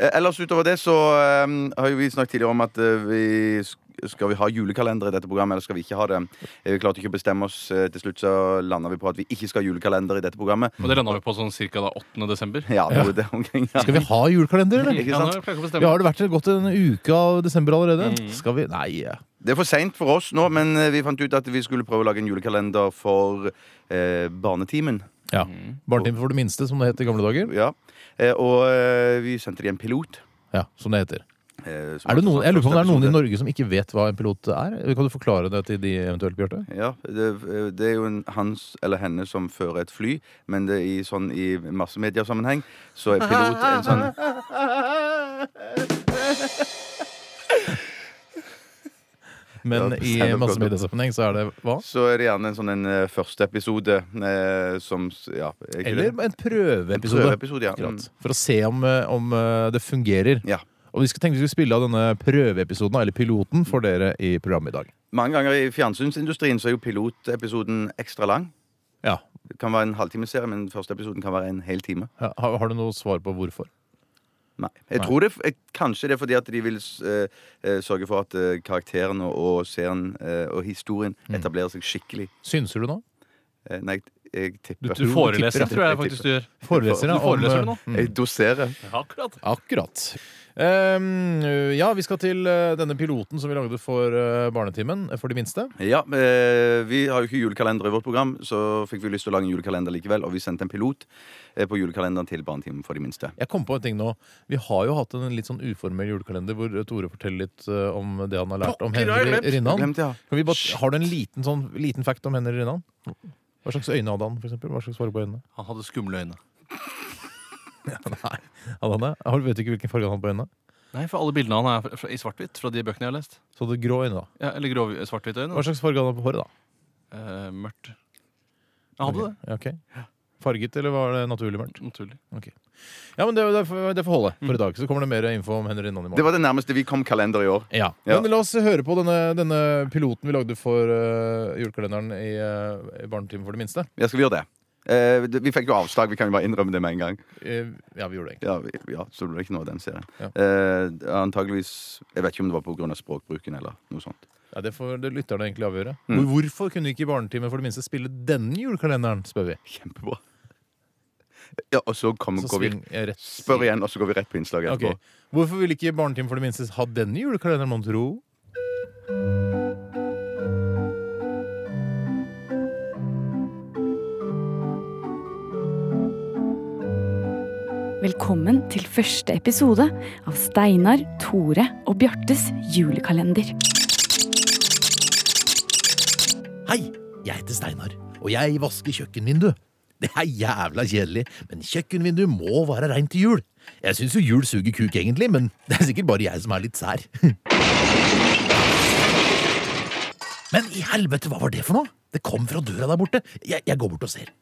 Eh, Ellers utover det så eh, har jo vi snakket tidligere om at eh, vi sk- skal vi ha julekalender i dette programmet, eller skal vi ikke ha det? Eh, Vi klarte ikke å bestemme oss. eh, Til slutt så landa vi på at vi ikke skal ha julekalender i dette programmet. Og det landa vi på sånn ca. 8. desember. Ja, det var det omkring. Ja. Skal vi ha julekalender, eller? Ikke Ja, sant? nå klarer jeg ikke å Ja, bestemme. har det vært gått en uke av desember allerede? Skal vi Nei. Det er for seint for oss nå, men eh, vi fant ut at vi skulle prøve å lage en julekalender for eh, Barnetimen. Ja. Barnetimen for det minste, som det het i gamle dager. Ja. Eh, og eh, vi sendte de en pilot. Ja, som det heter. eh, som Er det altså noen, sa jeg lurer på om det er noen i første Norge som ikke vet hva en pilot er? Kan du forklare det til de eventuelt, Bjarte? episode. Ja, det, det er jo en hans eller henne som fører et fly, men det er i, sånn, i massemediasammenheng så er pilot en sånn Ja, Men i stand-up massemediesammenheng så er det hva? Så er det gjerne en sånn en eh, første episode eh, som s- Ja. er ikke Eller det? en prøveepisode. prøveepisode, ja. Akkurat. Mm. For å se om, eh, om eh, det fungerer. ja. Og vi skal tenke vi skal spille av denne prøveepisoden, eller piloten, for dere i programmet i dag. Mange ganger i fjernsynsindustrien så er jo pilotepisoden ekstra lang. Ja. Det kan være en halvtimeserie, men den første episoden kan være en hel time. Ja, Har, har du noe svar på hvorfor? Nei. Jeg Nei. tror det, jeg, Kanskje det er fordi at de vil eh, eh, sørge for at eh, karakteren og, og serien eh, og historien Mm. etablerer seg skikkelig. Synser du nå? Eh, nei, jeg, jeg tipper. Du Du tipper, ja. foreleser, tror jeg faktisk du gjør. Foreleser, ja. Du foreleser om, nå? eh, mm. Jeg doserer. Akkurat. Akkurat. Ehm, ja, vi skal til eh, denne piloten som vi lagde for eh, Barnetimen, eh, for de minste. Ja, eh, Vi har jo ikke julekalender i vårt program, så fikk vi lyst til å lage en julekalender likevel. Og vi sendte en pilot eh, på julekalenderen til Barnetimen for de minste. Jeg kom på en ting nå. Vi har jo hatt en litt sånn uformell julekalender hvor Tore forteller litt eh, om det han har lært om Pokker, har jeg Henry glemt? Rinnan. Glemt, ja. Kan vi bare, har du en liten, sånn, liten fact om Henry Rinnan? Hva slags øyne hadde han? For eksempel? Hva slags farge på øynene? Han hadde skumle øyne. Nei, hadde han det? Har- Vet du ikke hvilken farge han hadde på øynene? Nei, for alle bildene han er fra- fra- i svart-hvitt fra de bøkene jeg har lest. Så hadde grå øyne, da. Ja, eller grov svart-hvitt øyne. Hva slags farge hadde han på håret, da? Eh, mørkt. Jeg hadde det. Ja, ok. Farget, eller var det naturlig mørkt? Naturlig. Ja, men det, det, får- det får holde for i dag. Så kommer det mer info om Henry Rinnan i morgen. Det var det nærmeste vi kom kalender i år. Ja. Ja. Men la oss høre på denne, denne piloten vi lagde for eh, julekalenderen i, uh, i Barnetimen for det minste. Ja, skal vi gjøre det? Eh, det- vi fikk jo avslag. Vi kan jo bare innrømme det med en gang. Eh, ja, vi gjorde det. egentlig. Ja, vi- ja Så det ble ikke noe av den serien. Ja. Eh, antageligvis Jeg vet ikke om det var pga. språkbruken eller noe sånt. Ja, det får det lytterne egentlig avgjøre. Mm. Hvor- Hvorfor kunne ikke Barnetimen for det minste spille denne julekalenderen, spør vi. Kjempebra. Ja, og så kom, Så går vi sving jeg rett. Spør igjen, og så går vi rett på innslaget Ok. etterpå. Hvorfor ville ikke Barnetimen for det minste ha denne julekalenderen, mon tro? Velkommen til første episode av Steinar, Tore og Bjartes julekalender. Hei, jeg heter Steinar, og jeg vasker kjøkkenvinduet. Det er jævla kjedelig, men kjøkkenvinduet må være reint til jul. Jeg syns jo jul suger kuk, egentlig, men det er sikkert bare jeg som er litt sær. Men i helvete, hva var det for noe? Det kom fra døra der borte. Jeg, jeg går bort og ser.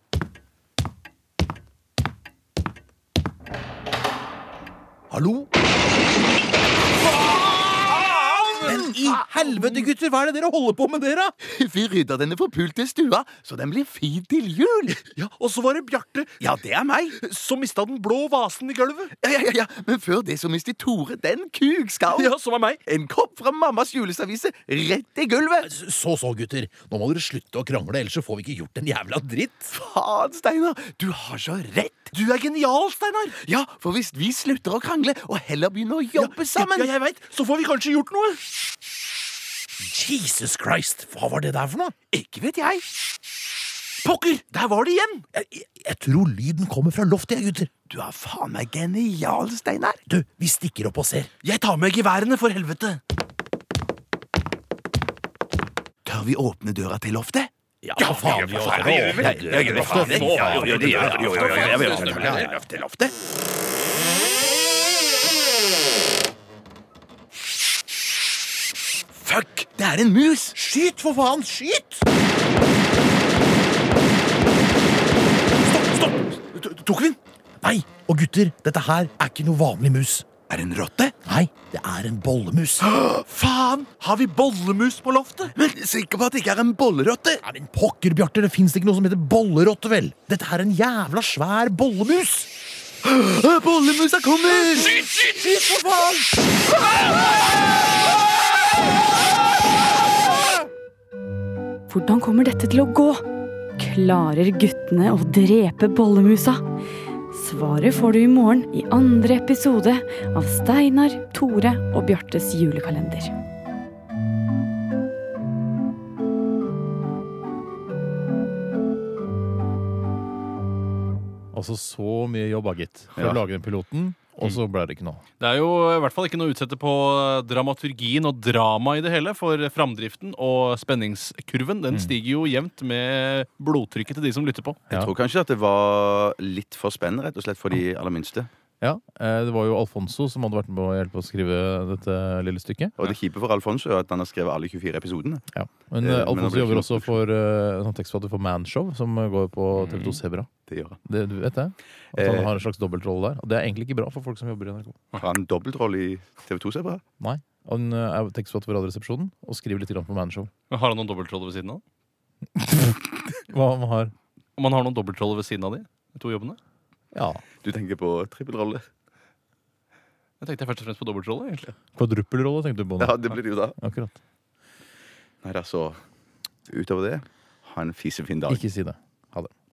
Hallo? Men i helvete, gutter, hva er det dere holder på med, dere? Vi rydda denne forpulte stua, så den blir fin til jul. Ja, Og så var det Bjarte Ja, det er meg. som mista den blå vasen i gulvet. Ja, ja, ja, ja. Men før det så mistet Tore den kukskallen. Ja, som er meg. En kopp fra mammas juleservise rett i gulvet. Så så, gutter. Nå må dere slutte å krangle, ellers så får vi ikke gjort en jævla dritt. Faen, Steinar. Du har så rett. Du er genial, Steinar. Ja, for hvis vi slutter å krangle og heller begynner å jobbe sammen Ja, jeg vet. Så får vi kanskje gjort noe. Jesus Christ, hva var det der for noe? Ikke vet jeg. Pokker, der var det igjen. Jeg, jeg, jeg tror lyden kommer fra loftet, jeg, gutter. Du er faen meg genial, Steinar. Du, vi stikker opp og ser. Jeg tar med geværene, for helvete. Tør vi åpne døra til loftet? Ja, for faen, vi også. Ja, ja, ja, ja, faen, det. Ja, ja, ja, ja, ja, ja, ja, ja, ja, ja, ja, ja. Loftet, loftet. Fuck! Det er en mus! Skyt, for faen! Skyt! Stopp! stopp! T- Tok vi den? Nei. Og gutter, dette her er ikke noe vanlig mus. Er det en rotte? Nei, det er en bollemus. Faen! Har vi bollemus på loftet? Men Sikker på at det ikke er en bollerotte? Nei, men pokker, Bjarte, det fins ikke noe som heter bollerotte, vel? Dette er en jævla svær bollemus. Bollemusa kommer! Skyt, skyt, skyt! Hvordan kommer dette til å gå? Klarer guttene å drepe bollemusa? Svaret får du i morgen i andre episode av Steinar, Tore og Bjartes julekalender. Altså så mye jobb, da, gitt, for Ja. å lage den piloten, og så ble det ikke noe. Det er jo i hvert fall ikke noe å utsette på eh, dramaturgien og dramaet i det hele, for framdriften og spenningskurven den stiger jo jevnt med blodtrykket til de som lytter på. Ja. Jeg tror kanskje at det var litt for spennende, rett og slett, for de aller minste. Ja, eh, Det var jo Alfonso som hadde vært med å hjelpe å skrive dette lille stykket. Og det kjipe for Alfonso er at han har skrevet alle 24 episodene. Ja. Men Eh, men eh, det Alfonso blir jobber ikke også for eh, en sånn tekstforfatter for Manshow, som går på TV2 Sebra. Det gjør han. Det, du vet det? At han Mm. Eh. har en slags dobbeltrolle der. Og det er egentlig ikke bra for folk som jobber i NRK. Har han dobbeltrolle i TV2, ser jeg bra. Nei. Han eh, er tekstforfatter for Radioresepsjonen og skriver litt grann på Manshow. Men Har han noen dobbeltroller ved siden av? Hva han har Om han har noen dobbeltroller ved siden av de de to jobbene? Ja. Du tenker på trippelrolle. Jeg tenkte først og fremst på dobbeltroller. egentlig. Kvadruppelrolle, tenkte du på nå. Ja, det blir det jo da. Akkurat. Nei, da så Utover det, ha en fisefin dag. Ikke si det. Ha det.